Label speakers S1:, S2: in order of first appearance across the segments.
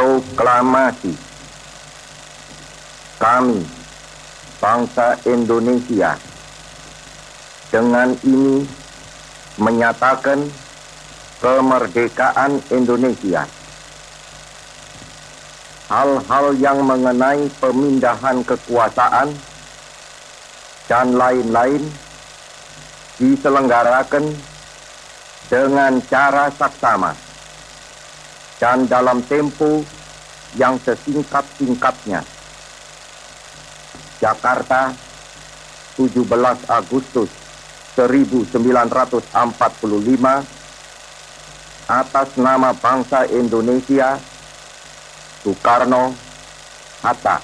S1: proklamasi kami bangsa Indonesia dengan ini menyatakan kemerdekaan Indonesia. Hal-hal yang mengenai pemindahan kekuasaan dan lain-lain diselenggarakan dengan cara saksama dan dalam tempo yang sesingkat-singkatnya. Jakarta, 17 Agustus 1945 atas nama bangsa Indonesia Soekarno Hatta.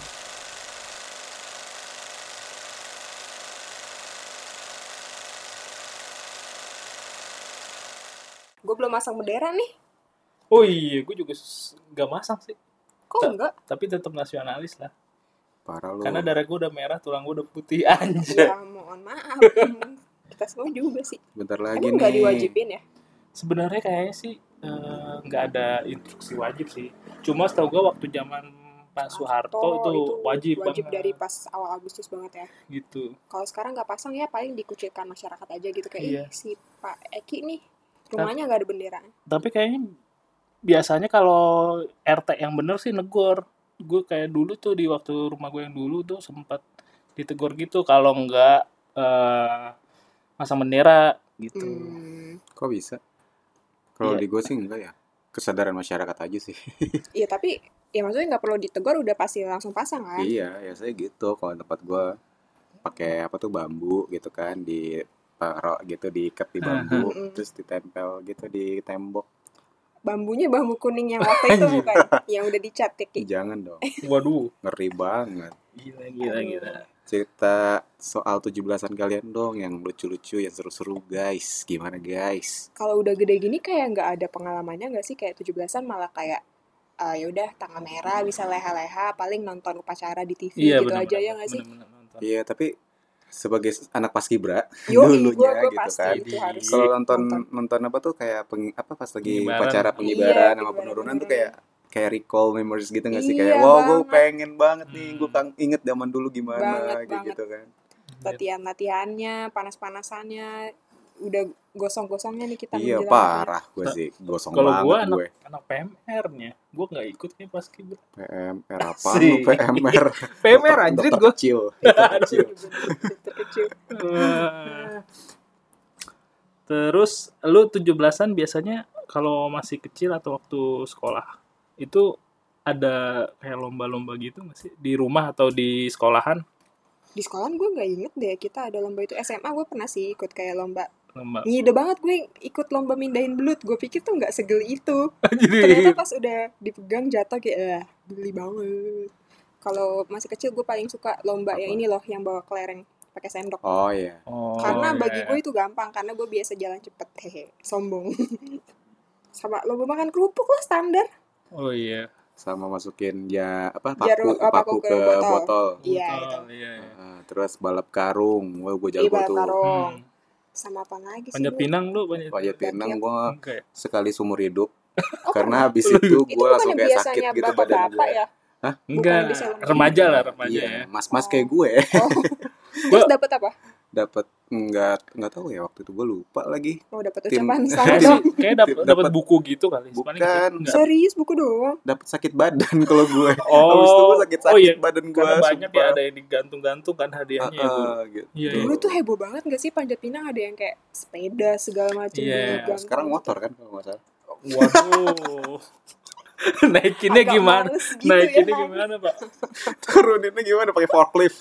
S2: Gue belum masang bendera nih.
S3: Oh iya, gue juga s- gak masang sih.
S2: Kok
S3: Ta-
S2: enggak?
S3: Tapi tetap nasionalis lah.
S1: Parah lu.
S3: Karena darah gue udah merah, tulang gue udah putih anjir.
S2: Ya mohon maaf. Kita semua juga sih.
S4: Bentar lagi
S2: Emang nggak
S4: nih.
S2: diwajibin ya?
S3: Sebenarnya kayaknya sih eh, nggak ada instruksi wajib sih. Cuma setahu gue waktu zaman Pak Soeharto itu wajib,
S2: Wajib
S3: banget
S2: dari pas awal Agustus banget ya.
S3: gitu.
S2: Kalau sekarang nggak pasang ya paling dikucilkan masyarakat aja gitu kayak
S3: Iya. Kan
S2: "Ih, si Pak Eki nih rumahnya nggak ada bendera.
S3: Tapi kayaknya biasanya kalau RT yang bener sih negor. Gue kayak dulu tuh di waktu rumah gue yang dulu tuh sempat ditegur gitu. Kalau nggak eh, masang bendera gitu.
S2: Hmm.
S4: Kok bisa? Kalau
S3: Iya.
S4: di gue sih enggak ya. Kesadaran masyarakat aja sih.
S2: Iya tapi ya maksudnya nggak perlu ditegur udah pasti langsung pasang kan.
S4: iya, ya saya gitu. Kalau tempat gue pakai apa tuh bambu gitu kan di taruh gitu diikat di bambu
S2: Mhm.
S4: terus ditempel gitu di tembok
S2: Bambunya bambu kuning yang waktu itu
S3: Anjir.
S2: bukan yang udah dicat ya, Ki.
S4: jangan dong
S3: Eh. Waduh,
S4: ngeri banget
S3: gila gila gila.
S4: cerita soal 17-an kalian dong yang lucu-lucu yang seru-seru guys gimana guys
S2: Kalau udah gede gini kayak nggak ada pengalamannya nggak sih kayak 17-an malah kayak ah, yaudah tanggal merah bisa leha-leha paling nonton upacara di TV
S3: Iya
S2: gitu
S3: benar
S2: aja ya nggak sih?
S4: iya tapi sebagai anak paskibra
S2: Yo,
S4: dulunya
S2: gua, gua
S4: gitu
S2: pasti
S4: kan.
S2: itu harus.
S4: kalau nonton
S2: Iya, Nonton.
S4: nonton apa tuh kayak peng, apa pas lagi
S3: Pengibaran.
S4: upacara
S3: Iya,
S4: pengibaran sama
S2: pengibaran,
S4: penurunan tuh
S2: pengibaran.
S4: kayak kayak recall memories gitu gak sih
S2: Iya,
S4: kayak wow gue
S2: banget.
S4: pengen banget nih
S3: Hmm.
S4: gue kang inget zaman dulu gimana
S2: Banget,
S4: kayak
S2: banget.
S4: gitu kan
S3: Iya.
S2: latihan-latihannya, panas-panasannya, udah gosong-gosongnya nih kita
S4: iya
S2: menjelang
S4: parah gue sih gosong
S3: Kalau
S4: banget
S3: gua
S4: gue
S3: Anak PMR-nya, gue nggak ikut nih pas kibra.
S4: PMR apa lu
S3: Sih.
S4: PMR
S3: PMR
S4: Dokter-
S3: anjrit
S4: dokter
S3: gue.
S4: kecil
S2: pernikahan.
S4: kecil.
S2: Dokter kecil.
S3: Terus lu 17-an biasanya kalau masih kecil atau waktu sekolah itu ada kayak lomba-lomba gitu nggak sih di rumah atau di sekolahan
S2: Di sekolah gue nggak inget deh kita ada lomba itu SMA gue pernah sih ikut kayak lomba.
S3: lomba
S2: Ngide banget gue ikut lomba mindahin belut. Gue pikir tuh nggak segeli itu.
S3: jadi
S4: Iya.
S2: Ternyata pas udah dipegang jatuh kayak "Ah, geli banget. Kalau masih kecil gue paling suka lomba yang
S4: Apa?
S2: ini loh yang bawa kelereng pakai sendok.
S4: oh iya
S3: oh,
S2: karena
S3: iya,
S2: bagi
S3: iya.
S2: gue itu gampang karena gue biasa jalan cepet hehe sombong sama lo makan kerupuk lah standar
S3: oh iya
S4: sama masukin ya apa paku
S2: Jarum- oh,
S4: paku ke, botol,
S2: Iya,
S3: Betul, iya, iya.
S4: Ah, terus balap karung wah gue
S2: di
S4: jago
S2: balap
S4: tuh
S2: karung
S3: Hmm.
S2: Iya, sama apa lagi sih
S3: panjat
S2: gue?
S3: pinang lu panjat
S4: Panjat pinang gue
S3: Enggak ya?
S4: iya, sekali seumur hidup
S2: Oh,
S4: karena habis itu
S2: itu
S4: gue langsung
S2: bukan
S4: kayak sakit
S2: biasanya
S4: gitu badan
S2: bapak-bapak
S4: gue
S2: ya
S3: Enggak,
S2: Bukan di salon.
S3: remaja lah remaja
S4: iya,
S3: ya.
S4: mas mas kayak gue
S2: oh. terus dapat apa
S4: dapat nggak nggak tahu ya waktu itu gue lupa lagi
S2: oh dapat
S4: Tim-
S2: ucapan
S3: Kayak
S2: selamat
S3: sih,
S2: dong
S3: kayak dap-
S4: Dapet-
S3: dapat buku gitu kali. Paling
S4: Bukan.
S3: gitu. Enggak.
S2: serius buku doang
S4: dapat sakit badan kalau gue
S3: Oh,
S4: habis itu gue sakit sakit
S3: oh iya.
S4: badan gue
S3: Karena banyak ya ada yang digantung-gantung kan hadiahnya ya, Bu.
S4: gitu.
S3: Iya, iya.
S2: dulu tuh heboh banget gak sih panjat pinang ada yang kayak sepeda segala macam
S3: Iya,
S2: digantung.
S4: sekarang motor kan kalau nggak salah
S3: Waduh. Naikinnya
S2: Agak
S3: gimana?
S2: males gitu
S3: Naikinnya
S2: ya,
S3: gimana, Pak?
S4: turuninnya gimana pakai forklift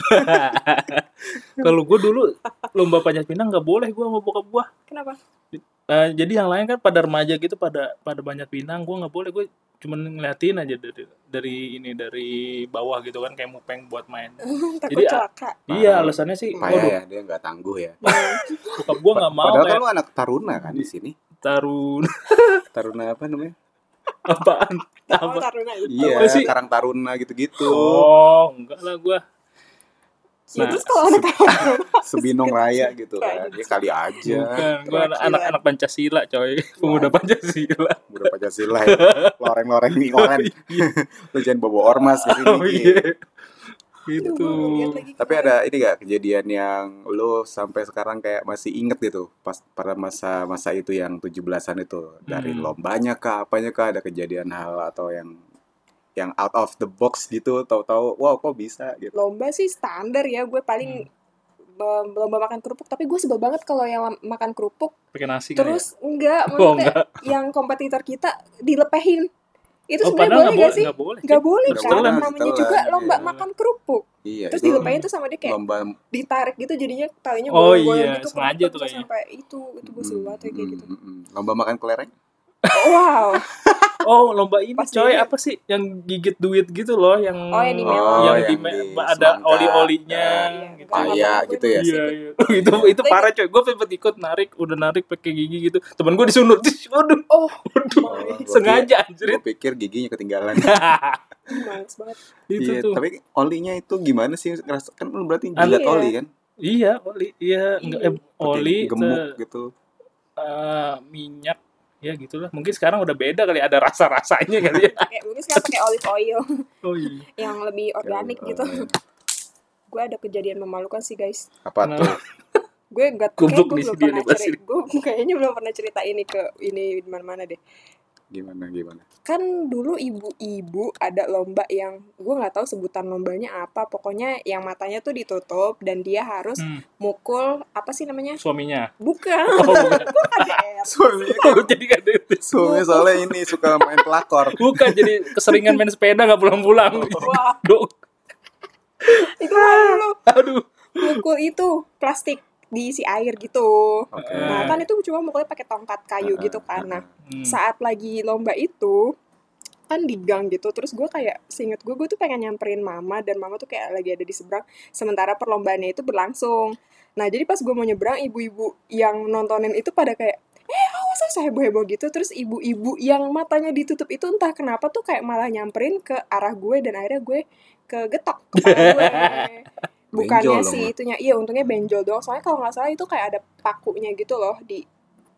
S3: Kalau gue dulu lomba panjat pinang nggak boleh gue mau bokap gue.
S2: kenapa
S3: Nah, jadi yang lain kan pada remaja gitu pada pada panjat pinang gue nggak boleh gue cuman ngeliatin aja dari, dari ini dari bawah gitu kan kayak mupeng buat main.
S2: takut
S3: Jadi, ah,
S2: celaka
S3: Iya alasannya sih,
S4: payah
S3: waduh,
S4: ya dia nggak tangguh ya
S3: bokap gue nggak mau
S4: padahal kan
S3: kayak
S4: lu anak taruna kan di sini
S3: tarun
S4: taruna apa namanya Iya,
S3: apaan?
S2: oh,
S3: Apa?
S4: Nah,
S2: taruna itu
S3: Apa sih?
S4: karang taruna gitu gitu
S3: Oh, enggak lah gue.
S2: Ya,
S3: Nah,
S2: terus kalau anak tahun
S4: Sebinong raya gitu
S2: Kayak
S4: kan. Ya kali aja.
S3: Bukan, gue
S2: Pancasila.
S3: kan anak-anak Pancasila
S2: Iya.
S3: coy. Pemuda Pancasila.
S4: Udah Pancasila ya. Loreng-loreng mie oren. Lu jangan bawa ormas gitu.
S3: iya. Oh iya. Gitu.
S4: Tapi ada ini gak kejadian yang lu sampai sekarang kayak masih inget gitu pas pada masa-masa itu yang 17-an itu dari
S3: Hmm.
S4: lombanya kah apanya kah ada kejadian hal atau yang yang out of the box gitu tahu-tahu wow kok bisa gitu.
S2: lomba sih standar ya gue paling be- lomba makan kerupuk tapi gue sebel banget kalau yang lam- makan kerupuk
S3: Pakai nasi kali
S2: terus eh, enggak
S3: ya?
S2: maksudnya
S3: Oh enggak.
S2: yang kompetitor kita dilepehin itu
S3: Oh,
S2: sebenarnya
S3: padahal
S2: boleh gak sih
S3: enggak boleh.
S2: Gak boleh
S4: Nggak
S2: kan
S3: boleh,
S2: namanya
S4: ditelan,
S2: juga lomba
S3: iya.
S2: makan kerupuk
S4: Iya,
S2: terus
S4: itu
S2: dilepahin tuh sama dia kayak
S4: lomba
S2: ditarik gitu jadinya talinya
S3: Oh
S2: bolong-bolong
S3: iya,
S2: gitu
S3: sengaja
S2: kerupuk
S3: tuh
S2: terus
S3: kayaknya.
S2: sampai itu itu gue sebel banget ya, kayak
S4: Mm,
S2: gitu
S4: mm, mm. Lomba makan kelereng?
S2: wow
S3: Oh, lomba ini
S2: Pas
S3: coy,
S2: dulu-
S3: apa sih yang gigit duit gitu loh yang
S2: Oh, yang di melon.
S3: yang, di
S4: Oh, yang
S3: me-
S4: di
S3: ada
S4: semangka.
S3: oli-olinya
S2: Iya,
S3: gitu.
S2: enggak
S4: Paya
S2: apa-apa,
S4: gitu
S2: gue
S4: ya?
S3: Iya,
S2: masih-
S3: iya. itu itu parah coy. Gue sempet ikut narik, udah narik pakai gigi gitu. Temen gue disunut. Ih, Waduh,
S2: oh
S3: waduh.
S4: Oh, gua
S3: Sengaja anjrit.
S4: Gue pikir giginya ketinggalan.
S2: males banget
S3: itu
S4: Iya,
S3: tuh.
S4: tapi olinya itu gimana sih? Ngerasa- Kan lu berarti
S3: Ah,
S4: jilat
S2: iya.
S4: oli kan?
S3: Iya, oli. Iya, enggak eh,
S4: Pakai
S3: oli
S4: gemuk
S3: te-
S4: gitu.
S3: eh, minyak ya gitulah. Mungkin sekarang udah beda kali ada rasa-rasanya kali ya.
S2: kayak mungkin sekarang pakai olive oil
S3: Oh iya.
S2: yang lebih organik
S4: Ya,
S2: gitu
S4: eh,
S2: gue ada kejadian memalukan sih guys
S4: Apa
S3: Nah.
S4: tuh?
S2: gue nggak
S3: Goblok
S2: gue belum
S3: nih si dia
S2: pernah
S3: nih, Bas,
S2: cerita gue kayaknya belum pernah cerita ini ke ini di mana mana deh
S4: Gimana gimana?
S2: kan dulu ibu-ibu ada lomba yang gue nggak tahu sebutan lombanya apa pokoknya yang matanya tuh ditutup dan dia harus
S3: Hmm,
S2: mukul apa sih namanya
S3: suaminya.
S2: bukan
S3: Oh, bukan.
S2: Kok ada R?
S4: Suaminya,
S3: Oh, jadi kan
S4: suaminya soalnya ini suka main pelakor.
S3: bukan jadi keseringan main sepeda nggak
S4: Oh.
S3: pulang-pulang.
S2: wah
S3: Dok,
S2: itu mah dulu
S3: aduh.
S2: mukul itu plastik diisi air gitu
S4: Oke.
S3: Eh.
S2: nah kan itu cuma mukulnya pakai tongkat kayu gitu kan nah
S3: Hmm.
S2: saat lagi lomba itu kan di gang gitu terus gue kayak seinget gue gue tuh pengen nyamperin mama dan mama tuh kayak lagi ada di seberang sementara perlombaannya itu berlangsung nah jadi pas gue mau nyebrang ibu-ibu yang nontonin itu pada kayak eh awas awas heboh heboh gitu terus ibu-ibu yang matanya ditutup itu entah kenapa tuh kayak malah nyamperin ke arah gue dan akhirnya gue kegetok kepala gue bukannya
S4: Benjol dong,
S2: sih itunya iya untungnya benjol doang soalnya kalau nggak salah itu kayak ada pakunya gitu loh di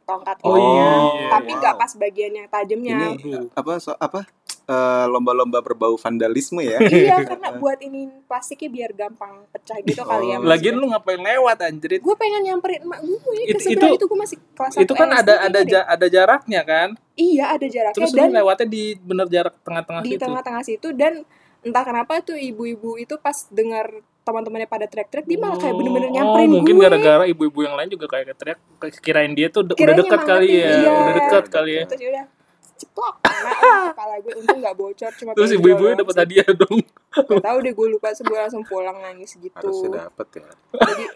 S2: tongkat
S3: Oh,
S2: itunya.
S3: iya.
S2: tapi nggak
S4: Wow.
S2: pas bagian yang tajamnya
S4: Ini
S3: Aduh.
S4: apa so, apa eh, lomba-lomba berbau vandalisme ya?
S2: iya karena buat ini plastiknya biar gampang pecah gitu kali ya
S4: Oh.
S3: Lagian lu ngapain lewat anjrit?
S2: gue pengen nyamperin emak gue ke
S3: Itu-
S2: seberang
S3: itu-
S2: itu, gue masih kelas
S3: Itu
S2: satu
S3: kan
S2: SD
S3: ada ada
S2: kayaknya deh.
S3: ja- ada jaraknya kan?
S2: iya ada jaraknya
S3: Terus
S2: dan
S3: lu lewatnya di bener jarak tengah-tengah
S2: di
S3: gitu.
S2: tengah-tengah situ dan entah kenapa tuh ibu-ibu itu pas dengar teman-temannya pada trek-trek dia malah kayak bener-bener
S3: Oh,
S2: nyamperin
S3: mungkin
S2: gue
S3: gara-gara ibu-ibu yang lain juga kayak teriak kirain dia tuh udah- udah
S2: Kirain
S3: dekat
S2: emang
S3: kali
S2: ngerti,
S3: ya,
S2: iya.
S3: udah dekat kali ya.
S2: terus udah ceplok kena ah, kepala gue untung nggak bocor cuma
S3: Terus
S2: benjol
S3: ibu-ibunya
S2: doang
S3: dapat
S2: sih.
S3: hadiah dong.
S2: Nggak tahu deh gue lupa sebulan langsung pulang nangis gitu
S4: Harusnya dapet ya.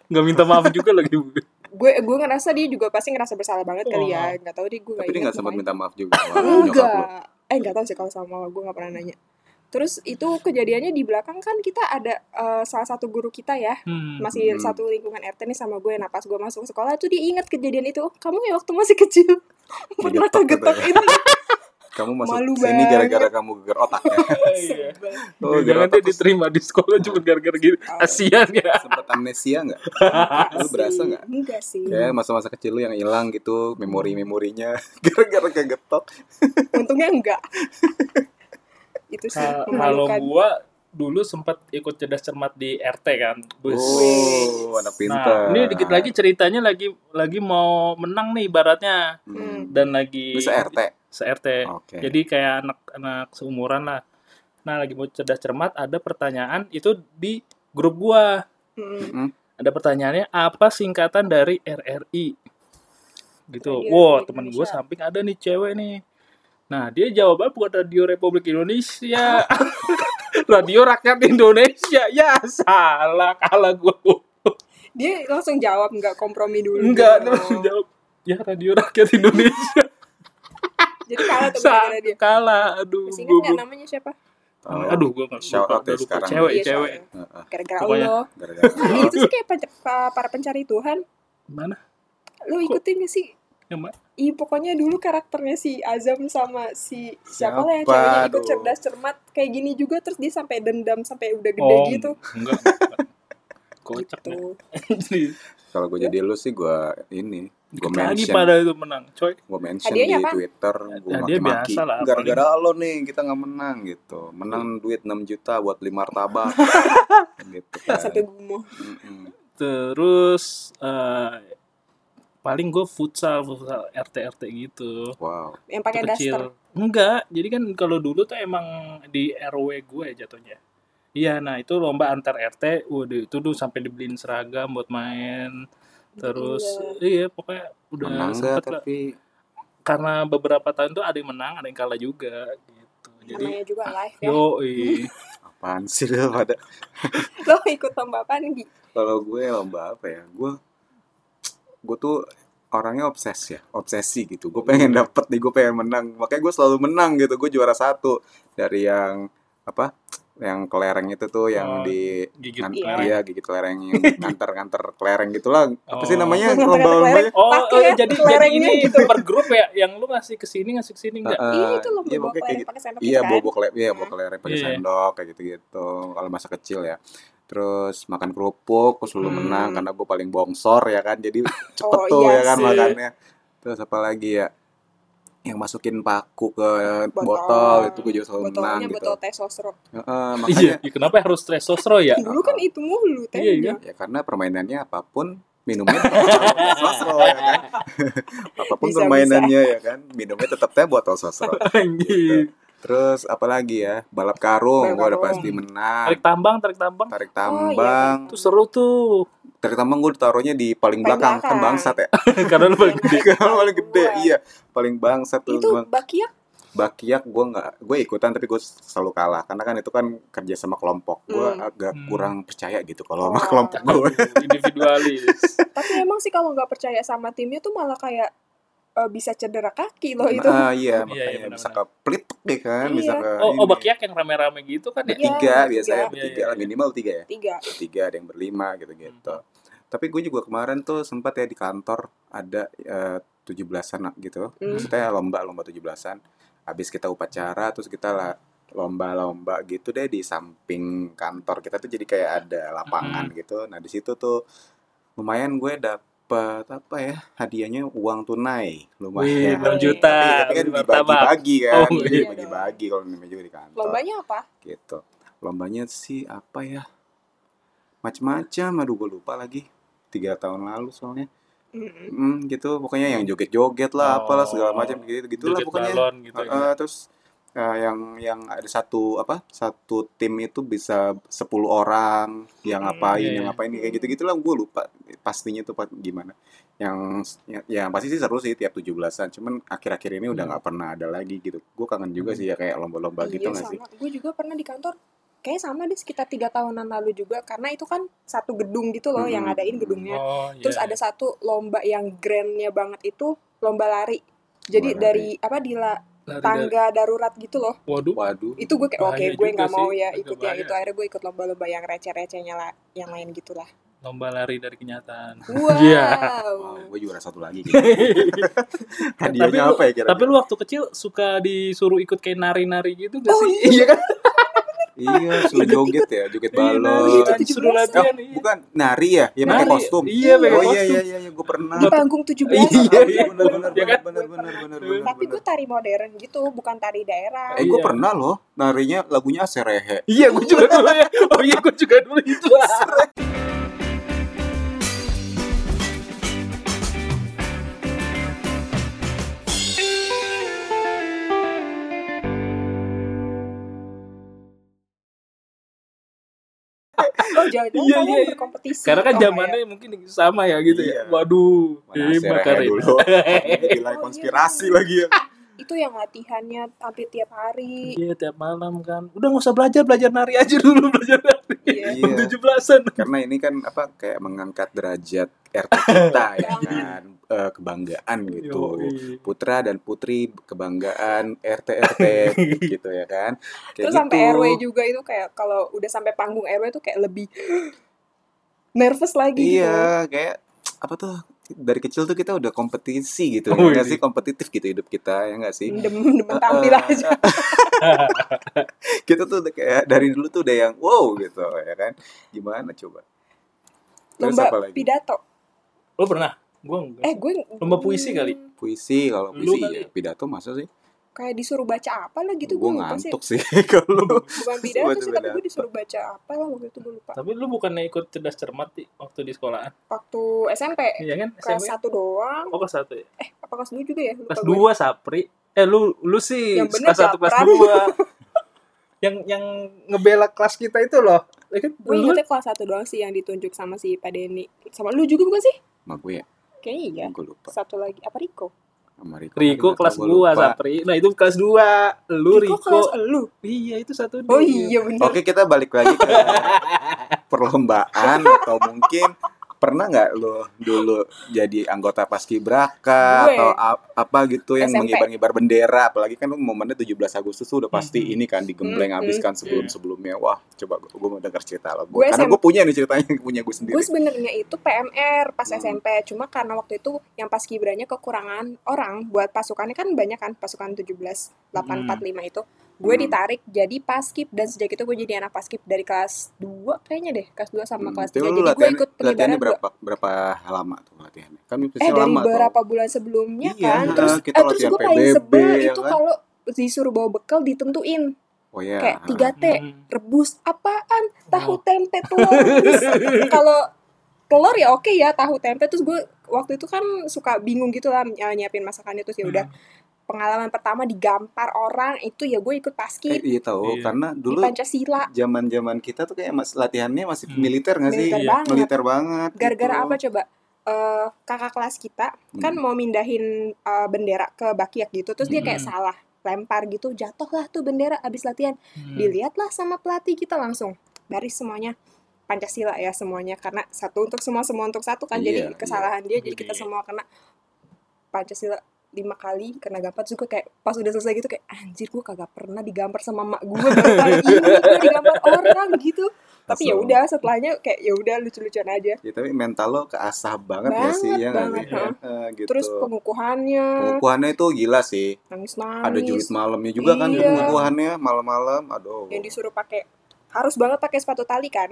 S3: Nggak minta maaf juga lagi ibu.
S2: gue gue ngerasa dia juga pasti ngerasa bersalah banget kali ya nggak tahu deh gue
S4: Tapi dia
S3: Iya,
S2: ingat
S4: nggak sempat
S2: mukanya.
S4: minta maaf juga. sama nyokap lu.
S2: enggak eh nggak tahu sih kalau sama mama gue nggak pernah nanya terus itu kejadiannya di belakang kan kita ada eh, salah satu guru kita ya
S3: Hmm.
S2: masih
S4: Mhm.
S2: satu lingkungan RT nih sama gue nah pas gue masuk sekolah tuh dia inget kejadian itu oh, kamu ya waktu masih kecil pernah
S4: Digetok
S2: kegetok
S4: gitu
S2: itu
S4: Kamu masuk
S2: Malu
S4: sini
S2: banget.
S4: gara-gara kamu geger otak ya.
S3: Iya.
S4: Oh, geger
S3: Jangan
S4: otak
S3: dia diterima di sekolah cuma gara-gara
S2: Oh.
S3: gitu. Kasihan ya.
S4: sempat amnesia nggak? Ah, Lu berasa nggak?
S2: enggak sih
S4: Kayak masa-masa kecil lu yang hilang gitu, memori-memorinya gara-gara kegetok.
S2: untungnya enggak itu sih
S3: Ka- Kalau
S2: memalukan
S3: gua dulu sempat ikut cerdas cermat di RT kan. Bus.
S4: Oh, anak pintar.
S3: Nah, ini dikit lagi ceritanya lagi lagi mau menang nih ibaratnya
S4: Hmm.
S3: dan lagi
S4: Bisa RT.
S3: se-RT.
S4: Oke.
S3: Jadi kayak anak-anak seumuran lah. Nah, lagi mau cerdas cermat ada pertanyaan itu di grup gua.
S2: Hmm.
S4: Mm-mm.
S3: Ada pertanyaannya apa singkatan dari RRI? Gitu.
S2: Radio
S3: Wow,
S2: Republik
S3: temen gua
S2: Indonesia.
S3: samping ada nih cewek nih. Nah, dia jawabnya buat Radio Republik Indonesia. Radio Rakyat Indonesia. Ya, salah kalah gua.
S2: dia langsung jawab nggak kompromi dulu Oh.
S3: Enggak, dia langsung jawab. Ya, Radio Rakyat Indonesia.
S2: jadi kalah tuh gara-gara
S3: Salah
S2: dia
S3: kalah. Aduh,
S2: masih inget
S3: gua-
S2: nggak
S3: gua-
S2: namanya siapa
S4: Oh,
S3: Aduh, gua enggak
S4: Shout out ya sekarang.
S3: Cewek,
S2: Iya,
S3: cewek.
S2: soalnya.
S4: Heeh,
S2: gara-gara
S3: Pokoknya.
S2: Allah
S4: Gara-gara.
S2: Nah, itu sih kayak penca- pa- para pencari Tuhan.
S3: Mana?
S2: Lu ikutin gak sih?
S3: Yang mana?
S2: Ih, pokoknya dulu karakternya si Azam sama si siapa
S4: Siapa?
S2: lah yang ceweknya ikut
S4: Aduh.
S2: cerdas cermat kayak gini juga terus dia sampai dendam sampai udah gede
S3: Oh,
S2: gitu.
S3: Enggak. Kocak
S2: gitu.
S3: deh. Jadi,
S4: Kalau gue jadi lu sih gue ini gue
S3: dikit lagi
S4: mention
S3: pada itu menang, coy.
S4: gue mention
S2: Hadiahnya
S4: di
S2: apa?
S4: Twitter gue
S3: Hadiah
S4: maki-maki
S3: biasa lah,
S4: gara-gara lo nih kita nggak menang gitu menang duit 6 juta buat beli martabak gitu kan
S2: Satu gumoh.
S4: Mm-mm.
S3: Terus eh paling gue futsal, futsal RT-RT gitu.
S4: wow
S2: Yang pakai
S3: Itu
S2: daster.
S3: Enggak, jadi kan kalau dulu tuh emang di RW gue ya jatuhnya. Iya, nah itu lomba antar RT, waduh itu dulu sampai dibeliin seragam buat main. Terus iya, pokoknya udah
S4: menang nggak
S3: sempet lah.
S4: tapi
S3: Karena beberapa tahun tuh ada yang menang, ada yang kalah juga gitu. Jadi
S2: Namanya juga live ya.
S3: yo
S4: apaan sih lu pada
S2: Lo ikut lomba apaan Gi?
S4: kalau gue lomba apa ya gue gue tuh orangnya obses ya obsesi gitu gue pengen
S3: Hmm.
S4: dapet nih gue pengen menang makanya gue selalu menang gitu gue juara satu dari yang apa yang kelereng itu tuh
S3: Oh,
S4: yang di
S3: gigit
S4: Ngan-
S3: kelereng.
S4: Iya, gigit kelereng yang nganter-nganter kelereng gitulah. Apa sih
S3: Oh.
S4: namanya ya?
S2: Nganter
S4: lomba-lombanya?
S2: kelereng.
S3: Oh,
S2: Pakai
S3: eh, jadi jadi
S2: kelerengnya
S3: ini
S4: gitu.
S3: itu per grup ya, yang lu ngasih ke sini ngasih ke sini enggak?
S4: Heeh.
S2: Iya itu lomba
S4: iya,
S2: bawa
S4: pokoknya kayak
S2: kelereng
S4: gitu.
S2: pakai sendok
S4: Iya,
S2: itu kan?
S4: bobo kelereng, iya, bobo kelereng pakai
S3: Iya.
S4: sendok kayak gitu-gitu. Kalau masa kecil ya. Terus makan kerupuk, terus selalu
S3: Hmm.
S4: menang karena gue paling bongsor ya kan. Jadi cepet
S2: Oh,
S4: tuh
S2: iya
S4: ya kan
S3: sih.
S4: makannya. Terus apa lagi ya? Yang masukin paku ke botol, itu gue juga selalu menang
S2: Botolnya
S4: gitu. Iya,
S2: botol teh sosro.
S4: Heeh,
S3: Iya,
S4: makanya Gitu.
S3: ya, kenapa harus stress sosro ya?
S2: Dulu kan itu mulu teh.
S3: Iya, iya.
S4: ya karena permainannya apapun minumnya tetap sosro ya kan apapun
S2: Bisa,
S4: permainannya ya kan minumnya tetap teh botol sosro
S3: Anjing.
S4: terus apalagi ya balap
S2: Balap
S4: karung gue udah
S2: karung.
S4: pasti menang
S3: Tarik tambang, tarik tambang.
S4: tarik
S2: Oh, iya.
S4: tambang
S3: Itu seru tuh.
S4: tarik tambang gue ditaruhnya di
S2: Paling
S4: paling belakang
S2: belakang.
S4: kan bangsat ya
S3: Karena lu paling gede.
S4: paling gede iya paling bangsat tuh
S2: Itu
S4: gua.
S2: bakiak
S4: bakiak gue nggak gue ikutan tapi gue selalu kalah karena kan itu kan kerja sama kelompok gue
S2: Hmm.
S4: agak
S3: Hmm.
S4: kurang percaya gitu kalau
S2: Oh.
S4: sama kelompok gue
S3: Individualis.
S2: tapi emang sih kalau nggak percaya sama timnya tuh malah kayak eh, bisa cedera kaki loh Oh, itu.
S4: Ah, iya,
S3: Iya,
S4: makanya
S3: iya,
S4: bisa ke
S3: benar-benar.
S4: pelit ya kan,
S2: Iya.
S4: bisa ke
S3: Oh, oh
S4: ini.
S3: bakiak yang rame-rame gitu kan ya?
S2: Iya,
S4: Bertiga
S2: bertiga.
S4: biasanya,
S3: Iya,
S4: bertiga
S3: iya,
S4: lah,
S3: iya. Hmm.
S4: minimal tiga ya.
S2: Tiga.
S4: Bertiga, ada yang berlima gitu-gitu. Tapi gue juga kemarin tuh sempat ya di kantor ada eh, tujuh belasan gitu.
S2: Hmm.
S4: Maksudnya lomba lomba tujuh belasan. Habis kita upacara, terus kita lah lomba-lomba gitu deh di samping kantor kita tuh jadi kayak ada lapangan
S3: Hmm.
S4: gitu. Nah di situ tuh lumayan gue dapet apa ya hadiahnya uang tunai
S3: Wih,
S4: lumayan
S3: 6
S4: tapi,
S3: juta.
S4: ya. tapi kan
S3: beli martabak.
S4: dibagi-bagi kan,
S3: Oh,
S4: Jadi
S2: iya.
S4: dibagi-bagi kalau namanya juga di kantor.
S2: Lombanya apa?
S4: Gitu. Lombanya sih apa ya? Macem-macem, aduh gue lupa lagi. Tiga tahun lalu soalnya.
S2: Mm-mm.
S4: Hmm, gitu, pokoknya yang joget-joget lah, apalah
S3: Oh.
S4: segala macam gitu, gitulah
S3: Joget
S4: pokoknya.
S3: balon gitu.
S4: Eh, eh, terus eh, yang yang ada satu apa? Satu tim itu bisa 10 orang yang
S2: Hmm,
S4: ngapain,
S3: iya,
S4: yang
S3: iya.
S4: ngapain kayak gitu-gitulah gue lupa pastinya tuh pa- gimana. Yang ya, ya, pasti sih seru sih tiap 17-an, cuman akhir-akhir ini
S3: Hmm.
S4: udah nggak pernah ada lagi gitu. Gue kangen juga sih ya kayak lomba-lomba gitu
S2: Iya
S4: nggak sih?
S2: sama. Gue juga pernah di kantor. Kayaknya sama deh sekitar tiga tahunan lalu juga karena itu kan satu gedung gitu loh yang
S4: Mm-mm.
S2: ngadain gedungnya.
S3: Oh,
S2: Terus ada satu lomba yang grandnya banget itu lomba lari. Jadi
S4: Lomba
S2: dari apa di la-
S3: Lari dari-
S2: tangga darurat gitu loh.
S3: Waduh.
S4: Waduh.
S2: Itu gue kayak oke
S3: Bahaya
S2: gue nggak
S3: juga
S2: mau
S3: sih,
S2: ya
S3: agak
S2: ikut yang
S3: bahaya.
S2: itu. Akhirnya gue ikut lomba-lomba yang receh-recehnya lah, yang lain gitulah.
S3: Lomba lari dari kenyataan.
S2: Wow.
S3: Iya.
S4: Wow, gue Oh, juara satu lagi. Gitu.
S3: lu-
S4: Hadiahnya apa ya kira-kira?
S3: Tapi lu waktu kecil suka disuruh ikut kayak nari-nari gitu gak
S2: Oh
S3: sih?
S2: iya.
S4: kan? iya, suruh joget ya,
S3: Iya,
S4: joget balon.
S2: itu tujuh
S3: Suruh
S2: belas.
S4: Oh,
S3: latihan. iya.
S4: bukan nari ya, yang pakai
S3: Nari.
S4: kostum.
S3: Iya, pakai
S4: oh, iya
S3: kostum.
S4: iya iya, iya. gue pernah.
S2: Di panggung 17
S3: Iya, iya.
S4: benar benar
S3: Iya
S4: benar
S3: kan?
S4: benar benar benar benar.
S2: Tapi gue tari modern gitu, bukan tari daerah.
S4: Eh, gue
S3: Iya.
S4: pernah loh narinya lagunya Serehe.
S3: Iya, gue juga dulu ya. Oh iya, gue juga dulu itu.
S2: Oh jangan-jangan
S3: Iya,
S2: kalian
S3: iya, iya.
S2: berkompetisi.
S3: Karena kan
S2: Oh,
S3: zamannya mungkin sama ya gitu ya.
S4: Iya.
S3: Waduh,
S4: Mana
S3: hebat
S4: Serehe
S3: Karina.
S4: dulu. Gila konspirasi lagi ya.
S2: kayak Itu yang latihannya hampir tiap hari.
S3: Iya tiap malam kan. Udah nggak usah belajar belajar nari aja dulu belajar nari.
S2: Iya.
S4: Iya.
S3: Tujuh belasan.
S4: Karena ini kan apa kayak mengangkat derajat RT kita
S3: Iya.
S4: ya kan Eh, kebanggaan gitu. putra dan putri kebanggaan RT RT gitu ya kan kayak
S2: Terus
S4: gitu
S2: sampai RW juga itu kayak kalau udah sampai panggung RW itu kayak lebih nervous lagi gitu.
S4: iya kayak apa tuh dari kecil tuh kita udah kompetisi gitu
S3: Oh,
S4: ya nggak
S3: ini.
S4: sih kompetitif gitu hidup kita ya nggak sih
S2: Dem demen gitu. tampil
S4: Eh,
S2: aja.
S4: kita tuh udah kayak dari dulu tuh udah yang wow gitu ya kan gimana coba Terus
S2: lomba
S4: apa lagi?
S2: pidato.
S3: Lo pernah? Gue enggak.
S2: Eh gue
S3: Lomba puisi kali?
S4: Puisi kalau
S3: Lu
S4: puisi
S3: kali.
S4: ya. pidato masa sih?
S2: Kayak disuruh baca apa lah gitu
S4: gue
S2: gue lupa sih.
S4: ngantuk sih kalau
S2: Bukan pidato
S4: Buat
S2: sih tapi gue
S4: pidato.
S2: disuruh baca apa lah waktu itu gue lupa.
S3: Tapi lu bukannya ikut cerdas cermat Ti, waktu di sekolahan?
S2: Waktu SMP
S3: Iya kan?
S2: kelas
S3: SMP?
S2: satu doang.
S3: Oh kelas satu ya?
S2: Apa kelas dua juga ya? Lupa
S3: Kelas
S2: gue.
S3: dua Sapri. Eh lu lu sih
S2: Yang bener
S3: kelas satu kelas
S2: Sapran.
S3: dua. yang yang ngebela kelas kita itu loh. Ya kan?
S2: Gue
S3: Lu-
S2: ingetnya kelas satu doang sih yang ditunjuk sama si Pak Denny. Sama lu juga bukan sih?
S4: sama gue ya.
S2: Kayaknya iya.
S4: Gue lupa
S2: Satu lagi apa Riko?
S4: sama
S3: Riko
S4: Riko. Tapi nggak
S3: kelas
S4: tahu,
S3: 2
S4: gua lupa.
S3: Sapri. Nah, itu kelas 2. Lu Riko.
S2: kelas lu.
S3: Iya, itu satu
S2: Oh
S3: dia.
S2: iya bener.
S4: Oke, kita balik lagi ke perlombaan atau mungkin pernah nggak lo dulu jadi anggota paskibraka
S2: Gue.
S4: atau ap- apa gitu yang
S2: SMP.
S4: mengibar-ngibar bendera apalagi kan lu momennya 17 Agustus tuh udah pasti
S3: Mhm.
S4: ini kan digembleng
S2: Mhm.
S4: habis kan sebelum-sebelumnya wah coba gue mau denger cerita lo
S2: Gue
S4: gue karena
S2: SMP.
S4: gue punya nih ceritanya punya gue sendiri
S2: Gue sebenarnya itu PMR pas
S4: Hmm.
S2: SMP, cuma karena waktu itu yang paskibranya kekurangan orang buat pasukannya kan banyak kan pasukan 17 845 itu. Gue
S4: Hmm.
S2: ditarik jadi paskib dan sejak itu gue jadi anak paskib dari kelas 2 kayaknya deh, kelas 2 sama
S4: Hmm,
S2: kelas 3.
S4: tapi lu
S2: Jadi gue
S4: latihan-
S2: ikut pengibaran
S4: latihannya
S2: dua.
S4: berapa berapa lama tuh latihannya kan pasti
S2: Eh dari
S4: lama tuh.
S2: beberapa bulan sebelumnya
S4: Iya,
S2: kan. Terus
S4: kita
S2: eh, terus
S4: latihan
S2: gue paling
S4: PBB,
S2: sebel
S4: ya
S2: itu
S4: kan?
S2: kalau disuruh bawa bekal ditentuin
S4: oh ya Oh.
S2: kayak 3T.
S3: Hmm.
S2: rebus apaan tahu tempe telur Terus kalau telur ya oke ya tahu tempe terus gue waktu itu kan suka bingung gitu lah ny- nyiapin masakannya
S3: Hmm.
S2: terus ya udah
S4: Hmm.
S2: pengalaman pertama digampar orang itu ya gue ikut
S4: Eh,
S2: paskib
S4: iya tahu
S3: Iya.
S4: karena
S2: di
S4: dulu
S2: pancasila
S4: zaman zaman kita tuh kayak mas, latihannya masih
S3: Hmm.
S4: militer nggak sih
S2: militer
S3: iya.
S2: banget
S4: militer banget
S2: gara-gara
S4: gitu.
S2: apa coba Eh, kakak kelas kita kan
S4: Hmm.
S2: mau mindahin eh, bendera ke bakiak gitu terus dia kayak
S3: Hmm.
S2: salah lempar gitu jatuh lah tuh bendera abis latihan
S3: Hmm.
S2: dilihatlah sama pelatih kita langsung baris semuanya Pancasila ya semuanya karena satu untuk semua semua untuk satu kan jadi
S4: Iya,
S2: kesalahan dia jadi kita
S3: Iya.
S2: semua kena Pancasila lima kali kena gampar juga kayak pas udah selesai gitu kayak anjir gue kagak pernah digampar sama mak gue baru kali ini gue digampar orang gitu tapi ya
S4: Langsung.
S2: udah setelahnya kayak ya udah lucu-lucuan aja
S4: Ya, tapi mental lo keasah banget, ya
S2: Banget,
S4: sih ya nggak
S2: banget,
S4: sih? Eh, gitu.
S2: terus pengukuhannya
S4: pengukuhannya itu gila sih.
S2: nangis-nangis
S4: Ada julid malamnya juga kan
S2: Iya.
S4: pengukuhannya malam-malam. Aduh.
S2: yang disuruh pakai harus banget pakai sepatu tali kan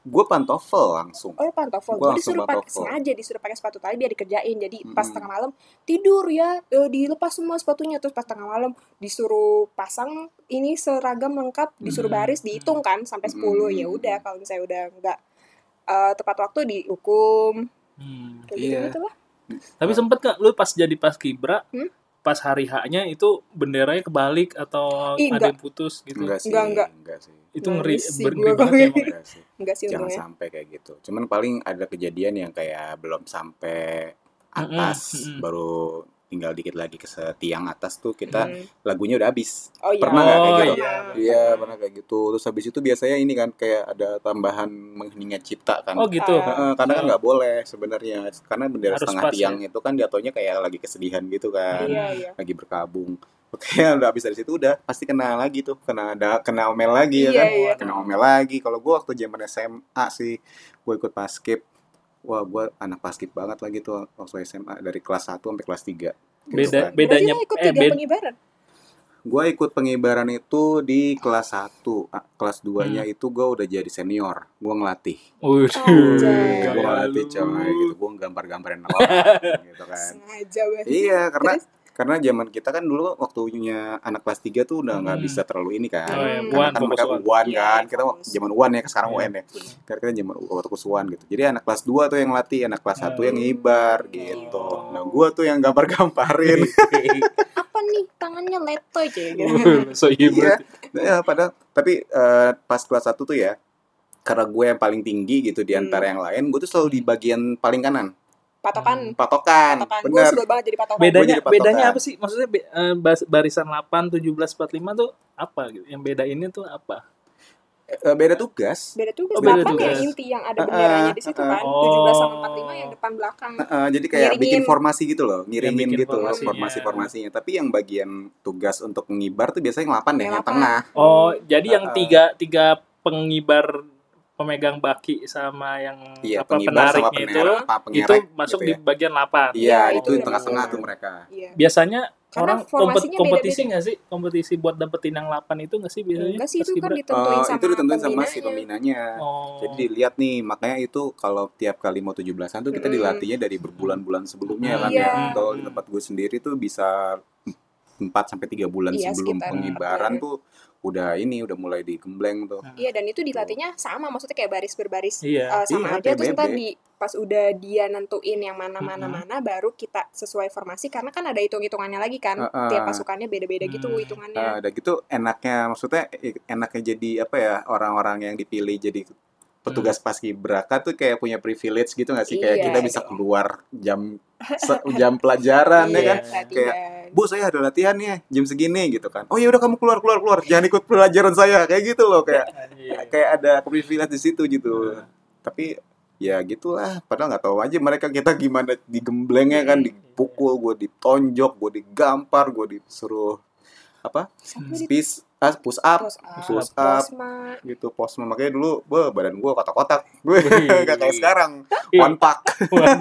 S4: Gue pantofel langsung.
S2: Oh pantofel, gue
S4: Gua langsung
S2: disuruh pakai
S4: pantofel.
S2: sengaja disuruh pakai sepatu tali biar dikerjain. Jadi pas
S4: Mm-mm.
S2: tengah malam tidur ya, e, dilepas semua sepatunya terus pas tengah malam disuruh pasang ini seragam lengkap, disuruh
S3: Mm-mm.
S2: baris dihitung kan sampai 10. Ya
S4: Mm-mm.
S2: udah kalau misalnya udah nggak eh, tepat waktu dihukum
S3: Hmm.
S2: kayak
S4: Iya.
S2: gitu lah.
S3: Tapi sempet gak lu pas jadi paskibra,
S2: Hmm?
S3: pas hari H-nya itu benderanya kebalik atau
S2: Ih,
S3: ada
S2: enggak.
S3: yang putus gitu?
S4: Enggak sih.
S2: Enggak, enggak.
S4: sih.
S3: Itu
S2: Nggak
S3: ngeri,
S2: sih
S3: ber-
S2: gua
S3: ngeri banget
S2: kalau
S3: sih
S2: kayak
S3: emang.
S4: Enggak sih.
S2: Enggak sih
S4: Jangan
S2: untungnya.
S4: sampai kayak gitu. Cuman paling ada kejadian yang kayak belum sampai atas,
S3: Mm-mm, mm-mm.
S4: baru tinggal dikit lagi ke setiang atas tuh kita
S2: Mm.
S4: lagunya udah habis.
S2: Oh iya.
S4: Pernah nggak kayak
S3: Oh,
S4: gitu?
S3: iya.
S4: Iya, pernah kayak gitu. Terus habis itu biasanya ini kan kayak ada tambahan mengheningnya cipta kan.
S3: Oh gitu.
S2: Ah.
S4: Heeh, karena kan
S3: Oh.
S4: nggak boleh sebenarnya karena bendera
S3: Harus
S4: setengah
S3: pas, ya.
S4: tiang itu kan jatuhnya kayak lagi kesedihan gitu kan,
S2: Iya iya.
S4: lagi berkabung. Oke, udah habis dari situ udah pasti kena lagi tuh, kena ada kena omel lagi
S2: Iya,
S4: ya kan,
S2: iya.
S4: kena omel lagi. Kalau gua waktu zaman SMA sih, gue ikut paskib. Wah, gua anak paskib banget lagi tuh waktu SMA dari kelas 1 sampai kelas
S3: Beda-
S4: 3.
S2: Berarti
S4: kan.
S3: Bedanya-
S2: lo ikut
S3: eh,
S2: tiga
S3: bed-
S2: pengibaran.
S4: Gua ikut pengibaran itu di kelas 1. Ah, Kelas 2-nya
S3: Hmm.
S4: itu gua udah jadi senior. Gua ngelatih.
S3: Waduh,
S2: Anjay.
S4: Gue
S3: gaya
S4: ngelatih
S3: Hmm, lu.
S4: coy gitu Gue gambar-gambarin orang gitu kan
S2: Sengaja berarti.
S4: Iya karena
S2: Terus?
S4: karena zaman kita kan dulu waktunya anak kelas 3 tuh udah nggak
S3: Hmm.
S4: bisa terlalu ini kan
S3: Oh, iya.
S2: Hmm.
S4: Karena
S3: Uan,
S4: kan
S3: fokus
S4: mereka
S3: Uan.
S4: uan
S2: Iya,
S4: kan
S2: iya,
S4: Kita
S2: fokus.
S4: zaman uan ya sekarang
S3: Iya.
S4: UN ya Karena kita zaman waktu uan gitu Jadi anak kelas 2 tuh yang latih Anak kelas 1
S3: Hmm.
S4: yang ngibar gitu
S2: Iya.
S3: Oh.
S4: Nah gue tuh yang gambar-gamparin
S2: Apa nih tangannya leto aja ya,
S4: Mm.
S2: gitu.
S3: so
S4: Iya.
S3: hibur.
S4: Ya, padahal tapi eh, pas kelas 1 tuh ya karena gue yang paling tinggi gitu
S2: Hmm.
S4: di antara yang lain, gue tuh selalu di bagian paling kanan, Mm.
S2: Patokan.
S4: patokan,
S2: Patokan. Gue
S4: bener.
S2: sulit banget jadi patokan.
S3: Bedanya
S4: Gua jadi patokan.
S3: bedanya apa sih? Maksudnya be- eh, bas- barisan 8, 17, 45 tuh apa gitu? Yang beda ini tuh apa?
S4: Eh, beda tugas.
S2: beda tugas
S3: Oh, beda
S2: Lapan
S3: tugas. Ah,
S2: yang inti yang ada benderanya di situ kan
S3: Oh.
S2: 17 sama 45 yang depan belakang
S4: Eh, jadi kayak
S2: Ngiringin.
S4: bikin formasi gitu loh, ngiringin
S3: bikin
S4: gitu loh
S3: formasinya.
S4: formasi-formasinya. Tapi yang bagian tugas untuk mengibar tuh biasanya yang 8 deh,
S2: Yang
S4: yang
S2: lapan.
S4: tengah.
S3: Oh, jadi yang
S4: Uh-uh.
S3: tiga tiga pengibar pemegang baki sama yang
S4: Iya,
S3: apa
S4: pengibar sama
S3: penariknya itu
S4: penerek, apa
S3: itu
S4: pengerek
S3: masuk
S4: gitu
S3: di ya? bagian lapan.
S4: Iya,
S2: Iya,
S4: itu
S2: itu
S4: di tengah-tengah
S2: yang-
S4: tuh mereka.
S2: Iya.
S3: Biasanya
S2: Karena
S3: orang kompet-
S2: formasinya
S3: kompetisi
S2: beda-beda.
S3: nggak sih? Kompetisi buat dapetin yang lapan itu nggak sih biasanya?
S2: Enggak sih
S3: Pas
S2: itu kan
S3: kibra-
S2: ditentuin
S4: Eh,
S2: sama
S4: itu ditentuin sama si
S2: pembinanya.
S4: pembinanya.
S3: Oh.
S4: Jadi dilihat nih, makanya itu kalau tiap kali mau 17-an tuh kita
S2: Mm-mm.
S4: dilatihnya dari berbulan-bulan sebelumnya
S3: Hmm.
S4: kan
S2: Iya.
S4: ya. Kalau di tempat gue sendiri tuh bisa 4 sampai 3 bulan
S2: Iya,
S4: sebelum
S2: sekitar
S4: pengibaran
S2: empat
S4: tuh udah ini udah mulai digembleng tuh.
S2: Iya dan itu dilatihnya sama maksudnya kayak baris berbaris
S3: Iya.
S2: eh, sama
S4: Iya,
S2: aja terus
S4: PBB.
S2: ntar di pas udah dia nentuin yang mana mana
S3: Mhm.
S2: mana baru kita sesuai formasi karena kan ada hitung hitungannya lagi kan
S4: Heeh.
S2: tiap pasukannya beda beda gitu
S3: Hmm.
S2: hitungannya
S4: Nah, udah gitu enaknya maksudnya eh, enaknya jadi apa ya orang-orang yang dipilih jadi petugas paskibraka tuh kayak punya privilege gitu nggak sih
S2: Mm.
S4: kayak
S2: Iya,
S4: kita bisa
S2: iya.
S4: keluar jam se- jam pelajaran ya
S3: Iya.
S4: kan
S2: latihan.
S4: bu saya ada latihan nih jam segini gitu kan oh ya udah kamu keluar keluar keluar jangan ikut pelajaran saya kayak gitu loh kayak
S3: Iya.
S4: kayak ada privilege di situ gitu
S3: Nah.
S4: tapi ya gitulah padahal nggak tahu aja mereka kita gimana digemblengnya kan
S3: Iya,
S4: dipukul gue ditonjok gue digampar gue disuruh apa
S2: Siapa di
S4: spis ah, push up
S2: pos up,
S4: push up
S2: posma
S4: gitu posma makanya dulu gue badan gue kotak-kotak gue
S3: Wih.
S4: gak kayak sekarang
S3: Iya.
S4: one pack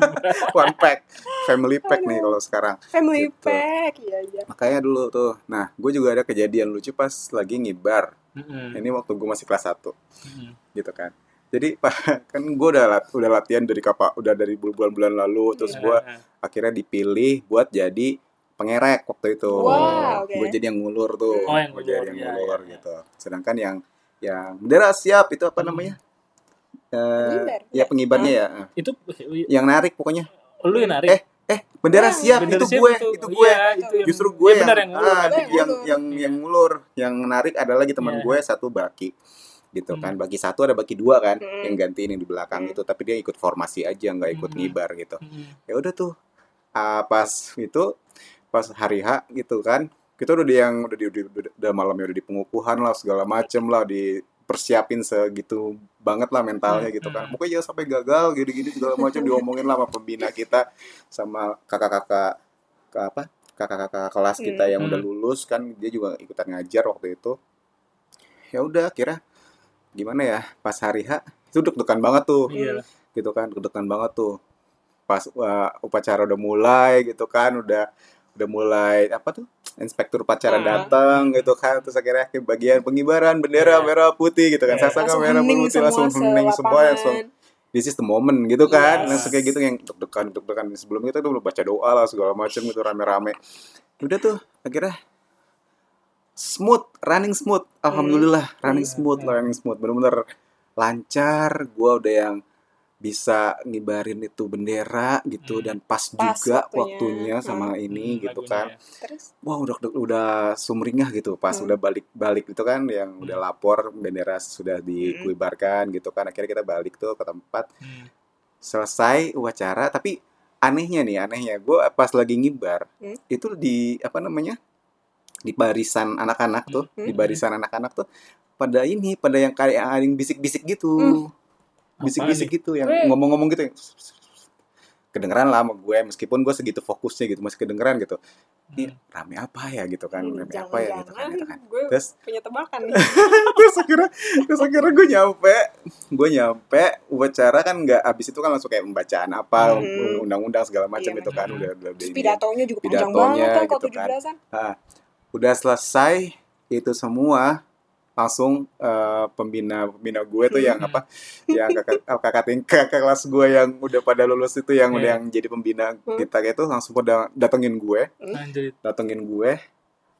S4: one pack family pack nih
S2: Aduh.
S4: kalau sekarang
S2: family
S4: Gitu.
S2: pack iya iya
S4: makanya dulu tuh nah gue juga ada kejadian lucu pas lagi ngibar
S3: Mm-mm.
S4: ini waktu gue masih kelas 1
S3: Mm-mm.
S4: gitu kan jadi kan gue udah lat- udah latihan dari kapa udah dari bulan-bulan lalu
S2: Iya.
S4: terus gue
S3: Nah,
S4: akhirnya dipilih buat jadi pengerek waktu itu
S2: Wow, oke.
S4: gue jadi yang ngulur tuh
S3: Oh, yang
S4: Gua jadi
S3: ngulur,
S4: yang
S3: iya, iya,
S4: ngulur
S3: iya.
S4: gitu sedangkan yang yang bendera siap itu apa
S3: Hmm.
S4: namanya
S2: Pengibar,
S4: Eh, ya
S2: ya?
S4: pengibarnya ya eh.
S3: nah. itu
S4: yang narik pokoknya
S3: lu yang narik.
S4: Eh, eh
S2: Wah,
S4: bendera siap
S3: Bener
S4: itu
S3: sih,
S4: gue itu gue
S3: iya, itu yang-
S4: justru gue
S3: iya,
S4: yang,
S3: benar yang ngulur.
S2: Lo
S4: ah,
S2: yang
S4: yang
S2: ngulur.
S4: yang yang ngulur yang menarik ada lagi teman
S3: Iya.
S4: gue satu baki gitu
S3: Hmm.
S4: kan bagi satu ada baki dua kan
S2: Hmm.
S4: yang gantiin yang di belakang
S2: Hmm.
S4: itu tapi dia ikut formasi aja nggak ikut
S3: Hmm.
S4: ngibar gitu
S3: Mm-mm.
S4: ya udah tuh ah, pas itu pas hari H gitu kan kita udah di yang udah di udah, udah- udah malamnya udah di pengukuhan lah segala macem lah di persiapin segitu banget lah mentalnya gitu kan
S3: Hmm.
S4: pokoknya jangan sampai gagal gini-gini segala macam diomongin lah sama pembina kita sama kakak-kakak ke apa kakak-kakak kelas kita yang udah
S3: Hmm.
S4: lulus kan dia juga ikutan ngajar waktu itu ya udah kira gimana ya pas hari H itu deg-degan banget tuh
S3: Iya.
S4: gitu kan deg-degan banget tuh pas uh, upacara udah mulai gitu kan udah udah mulai apa tuh inspektur
S3: Ah.
S4: upacara datang gitu kan terus akhirnya ke bagian pengibaran bendera
S3: Iya.
S4: merah putih gitu kan
S3: Iya.
S4: saksaka
S2: langsung
S4: merah
S2: hening
S4: putih
S2: semua
S4: langsung hening semua ya,
S2: selapangan.
S4: langsung this is the moment gitu kan
S2: Yes.
S4: langsung kayak gitu yang deg-degan deg-degan sebelum itu tuh udah baca doa lah segala macam gitu rame-rame Ya udah tuh akhirnya smooth running smooth alhamdulillah running
S3: Iya,
S4: smooth
S3: iya.
S4: running smooth bener-bener lancar gua udah yang bisa ngibarin itu bendera gitu
S3: Hmm.
S4: dan pas,
S2: Pas waktunya.
S4: juga waktunya, sama ini
S3: Mm,
S4: gitu
S3: lagunya
S4: kan
S3: ya.
S2: terus
S4: wah udah udah sumringah gitu pas
S2: Hmm.
S4: udah balik balik itu kan yang udah lapor bendera sudah dikuibarkan gitu kan akhirnya kita balik tuh ke tempat
S3: Hmm.
S4: selesai upacara tapi anehnya nih anehnya gue pas lagi ngibar
S2: Hmm.
S4: itu di apa namanya di barisan anak-anak tuh
S2: Hmm.
S4: di barisan anak-anak tuh pada ini pada yang kayak ada yang bisik-bisik
S2: Hmm.
S4: gitu bisik-bisik
S3: Apaan
S4: gitu yang
S2: Weh.
S4: ngomong-ngomong gitu yang kedengeran lah sama gue meskipun gue segitu fokusnya gitu masih kedengeran gitu
S3: Mm.
S4: ini rame apa ya gitu kan
S2: Mm,
S4: rame apa ya gitu kan gitu kan
S2: hmm, jangan-jangan gue
S4: terus
S2: punya tebakan nih
S4: terus akhirnya terus akhirnya gue nyampe gue nyampe upacara kan nggak abis itu kan langsung kayak pembacaan apa
S2: Hmm.
S4: undang-undang segala macam
S2: Iya,
S4: itu kan udah
S3: benar.
S4: udah udah
S2: Terus
S4: ini.
S2: pidatonya juga panjang
S4: Pidatonya
S2: banget kan kalau
S4: gitu kan.
S2: 17-an
S4: Ah, udah selesai itu semua langsung eh, pembina pembina gue tuh yang
S3: Hmm.
S4: apa yang kakak kakak ting- kakak kelas gue yang udah pada lulus itu yang
S3: Iya.
S4: udah yang jadi pembina
S2: Hmm.
S4: kita itu langsung pada datengin gue
S3: Anjir.
S4: datengin gue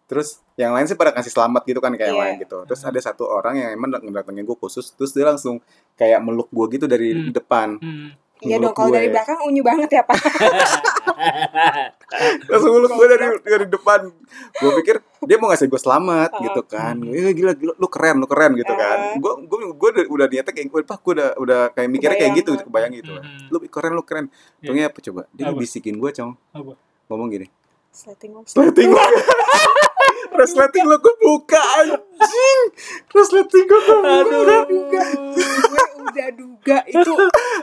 S4: terus yang lain sih pada kasih selamat gitu kan kayak yang
S2: Iya.
S4: lain gitu terus
S3: Hmm.
S4: ada satu orang yang emang dat- datengin gue khusus terus dia langsung kayak meluk gue gitu dari
S3: Hmm.
S4: depan
S3: Hmm.
S2: Iya dong,
S4: Menurut
S2: kalau
S4: gue
S2: dari
S4: ya.
S2: belakang unyu banget ya Pak.
S4: langsung meluk gue dari dari depan gue pikir dia mau ngasih gue selamat
S2: Ah.
S4: gitu kan
S3: Hmm.
S4: "Eh, gila gila lu keren lu keren gitu
S2: Ah.
S4: kan gue gue gue udah, udah niatnya kayak gue pak gue udah udah kayak mikirnya kayak gitu
S2: Kebayang.
S4: kebayang gitu
S3: Hmm.
S4: lu keren lu keren Tunggu apa coba dia
S3: Apa?
S4: bisikin gue cong
S3: Apa?
S4: ngomong gini
S2: Slating lo.
S4: Resleting lo Resleting lo gue buka anjing Resleting gue gue buka
S3: Aduh.
S2: gue udah duga itu.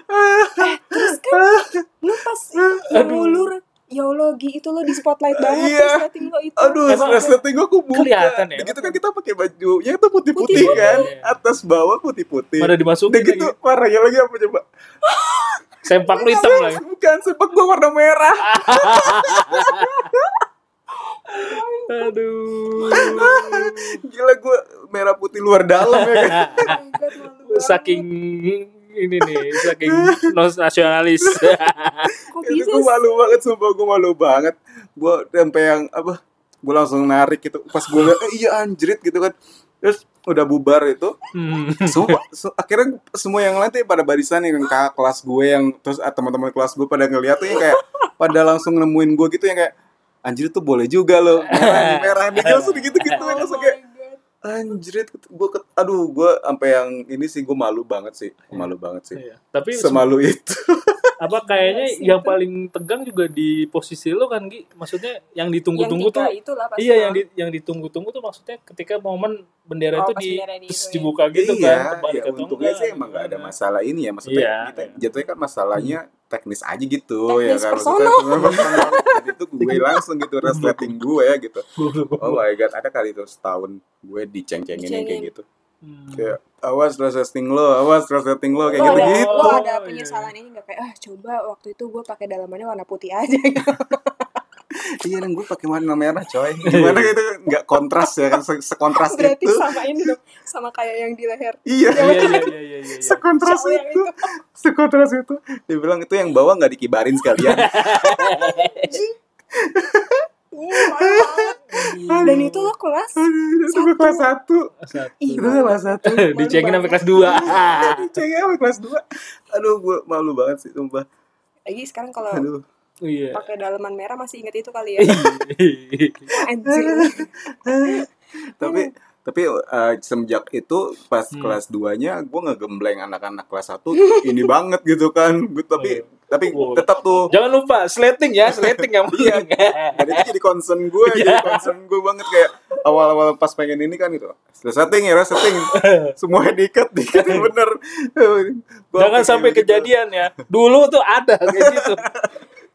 S2: Eh, terus kan lu pas yang
S3: Aduh.
S2: ngulur, ya Allah teknologi itu lo di spotlight banget
S4: Iya.
S2: terus rating lo itu Oh
S4: Aduh,
S3: Emang
S4: resleting gue kubuka.
S3: kelihatan ya?
S4: Begitu kan kita pakai bajunya itu putih-putih kan.
S3: Putih-putih.
S4: Atas bawah putih-putih.
S3: Mana
S4: Udah
S3: dimasukin
S4: gitu,
S3: lagi.
S4: warnanya lagi apa coba?
S3: Sempak lu hitam lagi.
S4: Bukan, sepak gue warna merah.
S3: Aduh.
S4: Gila gue merah putih luar dalam ya kan.
S2: Oh my God, malu banget.
S3: Saking ini nih, saking nos- nasionalis.
S2: kok
S4: Itu
S2: bisa
S4: gue malu banget, sumpah gue malu banget. Gue sampai yang apa? Gue langsung narik gitu. Pas gue liat, eh, iya anjrit gitu kan. Terus udah bubar itu,
S3: Hmm.
S4: Sumpah, su- akhirnya semua yang lain tuh pada barisan yang kakak kelas gue yang terus ah, teman-teman kelas gue pada ngeliat tuh yang kayak pada langsung nemuin gue gitu yang kayak anjir tuh boleh juga loh merah nih, merah nih Dia langsung gitu gitu
S2: Oh my
S4: langsung kayak
S2: God.
S4: anjir gue ket- aduh gue sampai yang ini sih gue malu banget sih malu banget sih
S3: Iya. Tapi
S4: semalu itu
S3: apa kayaknya
S2: Iya sih,
S3: yang
S2: itu.
S3: paling tegang juga di posisi lo kan Gi maksudnya yang ditunggu-tunggu
S2: yang tiga
S3: tuh
S2: itu lah pasti
S3: iya yang
S2: lah.
S3: di- yang ditunggu-tunggu tuh maksudnya ketika momen
S2: Oh,
S3: bendera itu
S2: pas
S3: di
S2: bendera di
S3: terus
S2: itu ya.
S3: dibuka gitu kan
S4: iya
S3: kebalik
S4: ya,
S3: atau
S4: untungnya
S3: enggak,
S4: sih emang gak ada
S3: gimana.
S4: masalah ini ya maksudnya
S3: Iya. Hmm.
S4: kita jatuhnya kan masalahnya teknis aja gitu
S2: Teknis
S4: ya kan
S2: personal.
S4: Maksudnya personal. Dan itu gue langsung gitu resleting gue ya gitu Oh my god, ada kali itu setahun gue diceng-cengin yang kayak
S2: Dicengin.
S4: gitu.
S3: Hmm.
S4: Kayak awas resleting lo, awas resleting lo kayak
S2: lo ada,
S4: gitu-gitu.
S2: lo ada
S3: Oh, iya.
S2: penyesalan ini nggak kayak ah coba waktu itu gue pakai dalamannya warna putih aja gitu.
S4: Iya, dan gue pakai warna merah, coy. Gimana gitu nggak kontras ya kan se- sekontras
S2: Oh, berarti
S4: itu.
S2: sama ini dong sama kayak yang di leher
S3: iya
S4: Iya.
S3: iya iya iya iya
S4: Sekontras
S2: Cowok yang
S4: itu, sekontras itu. Dia bilang itu yang bawah nggak dikibarin sekalian.
S2: Uh, parah banget. dan itu lo kelas
S4: itu gue kelas satu.
S3: Satu.
S4: Itu gue kelas satu.
S3: dicengin sampai kelas 2
S4: Dicengin sama kelas dua. Aduh, gue malu banget sih, sumpah.
S2: lagi sekarang kalau
S4: Aduh. Iya.
S3: iya
S2: pakai dalaman merah masih ingat itu kali ya anjing
S4: tapi tapi eh, semenjak itu pas
S3: Hmm.
S4: kelas 2-nya gue ngegembleng anak-anak kelas 1 ini banget gitu kan Gua- tapi tapi
S3: Oh, iya. Wow.
S4: tetap tuh
S3: jangan lupa slating ya slating yang
S4: Iya.
S3: penting
S4: dan itu jadi concern gue
S3: Iya.
S4: jadi concern gue banget kayak awal-awal pas pengen ini kan gitu setting ya setting semua diikat diikat yang bener Gua
S3: jangan
S4: pengen
S3: sampai
S4: gitu.
S3: kejadian ya dulu tuh ada kayak gitu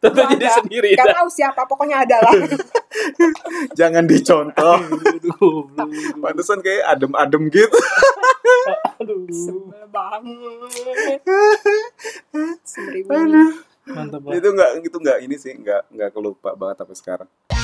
S3: tentu jadi
S2: Ada.
S3: sendiri
S2: Gak tahu siapa pokoknya ada lah
S4: jangan dicontoh
S3: Aduh,
S4: pantesan kayak adem-adem gitu
S3: aduh.
S2: Sebel banget Seribu.
S3: Mantap banget.
S4: itu nggak itu nggak ini sih nggak nggak kelupa banget sampai sekarang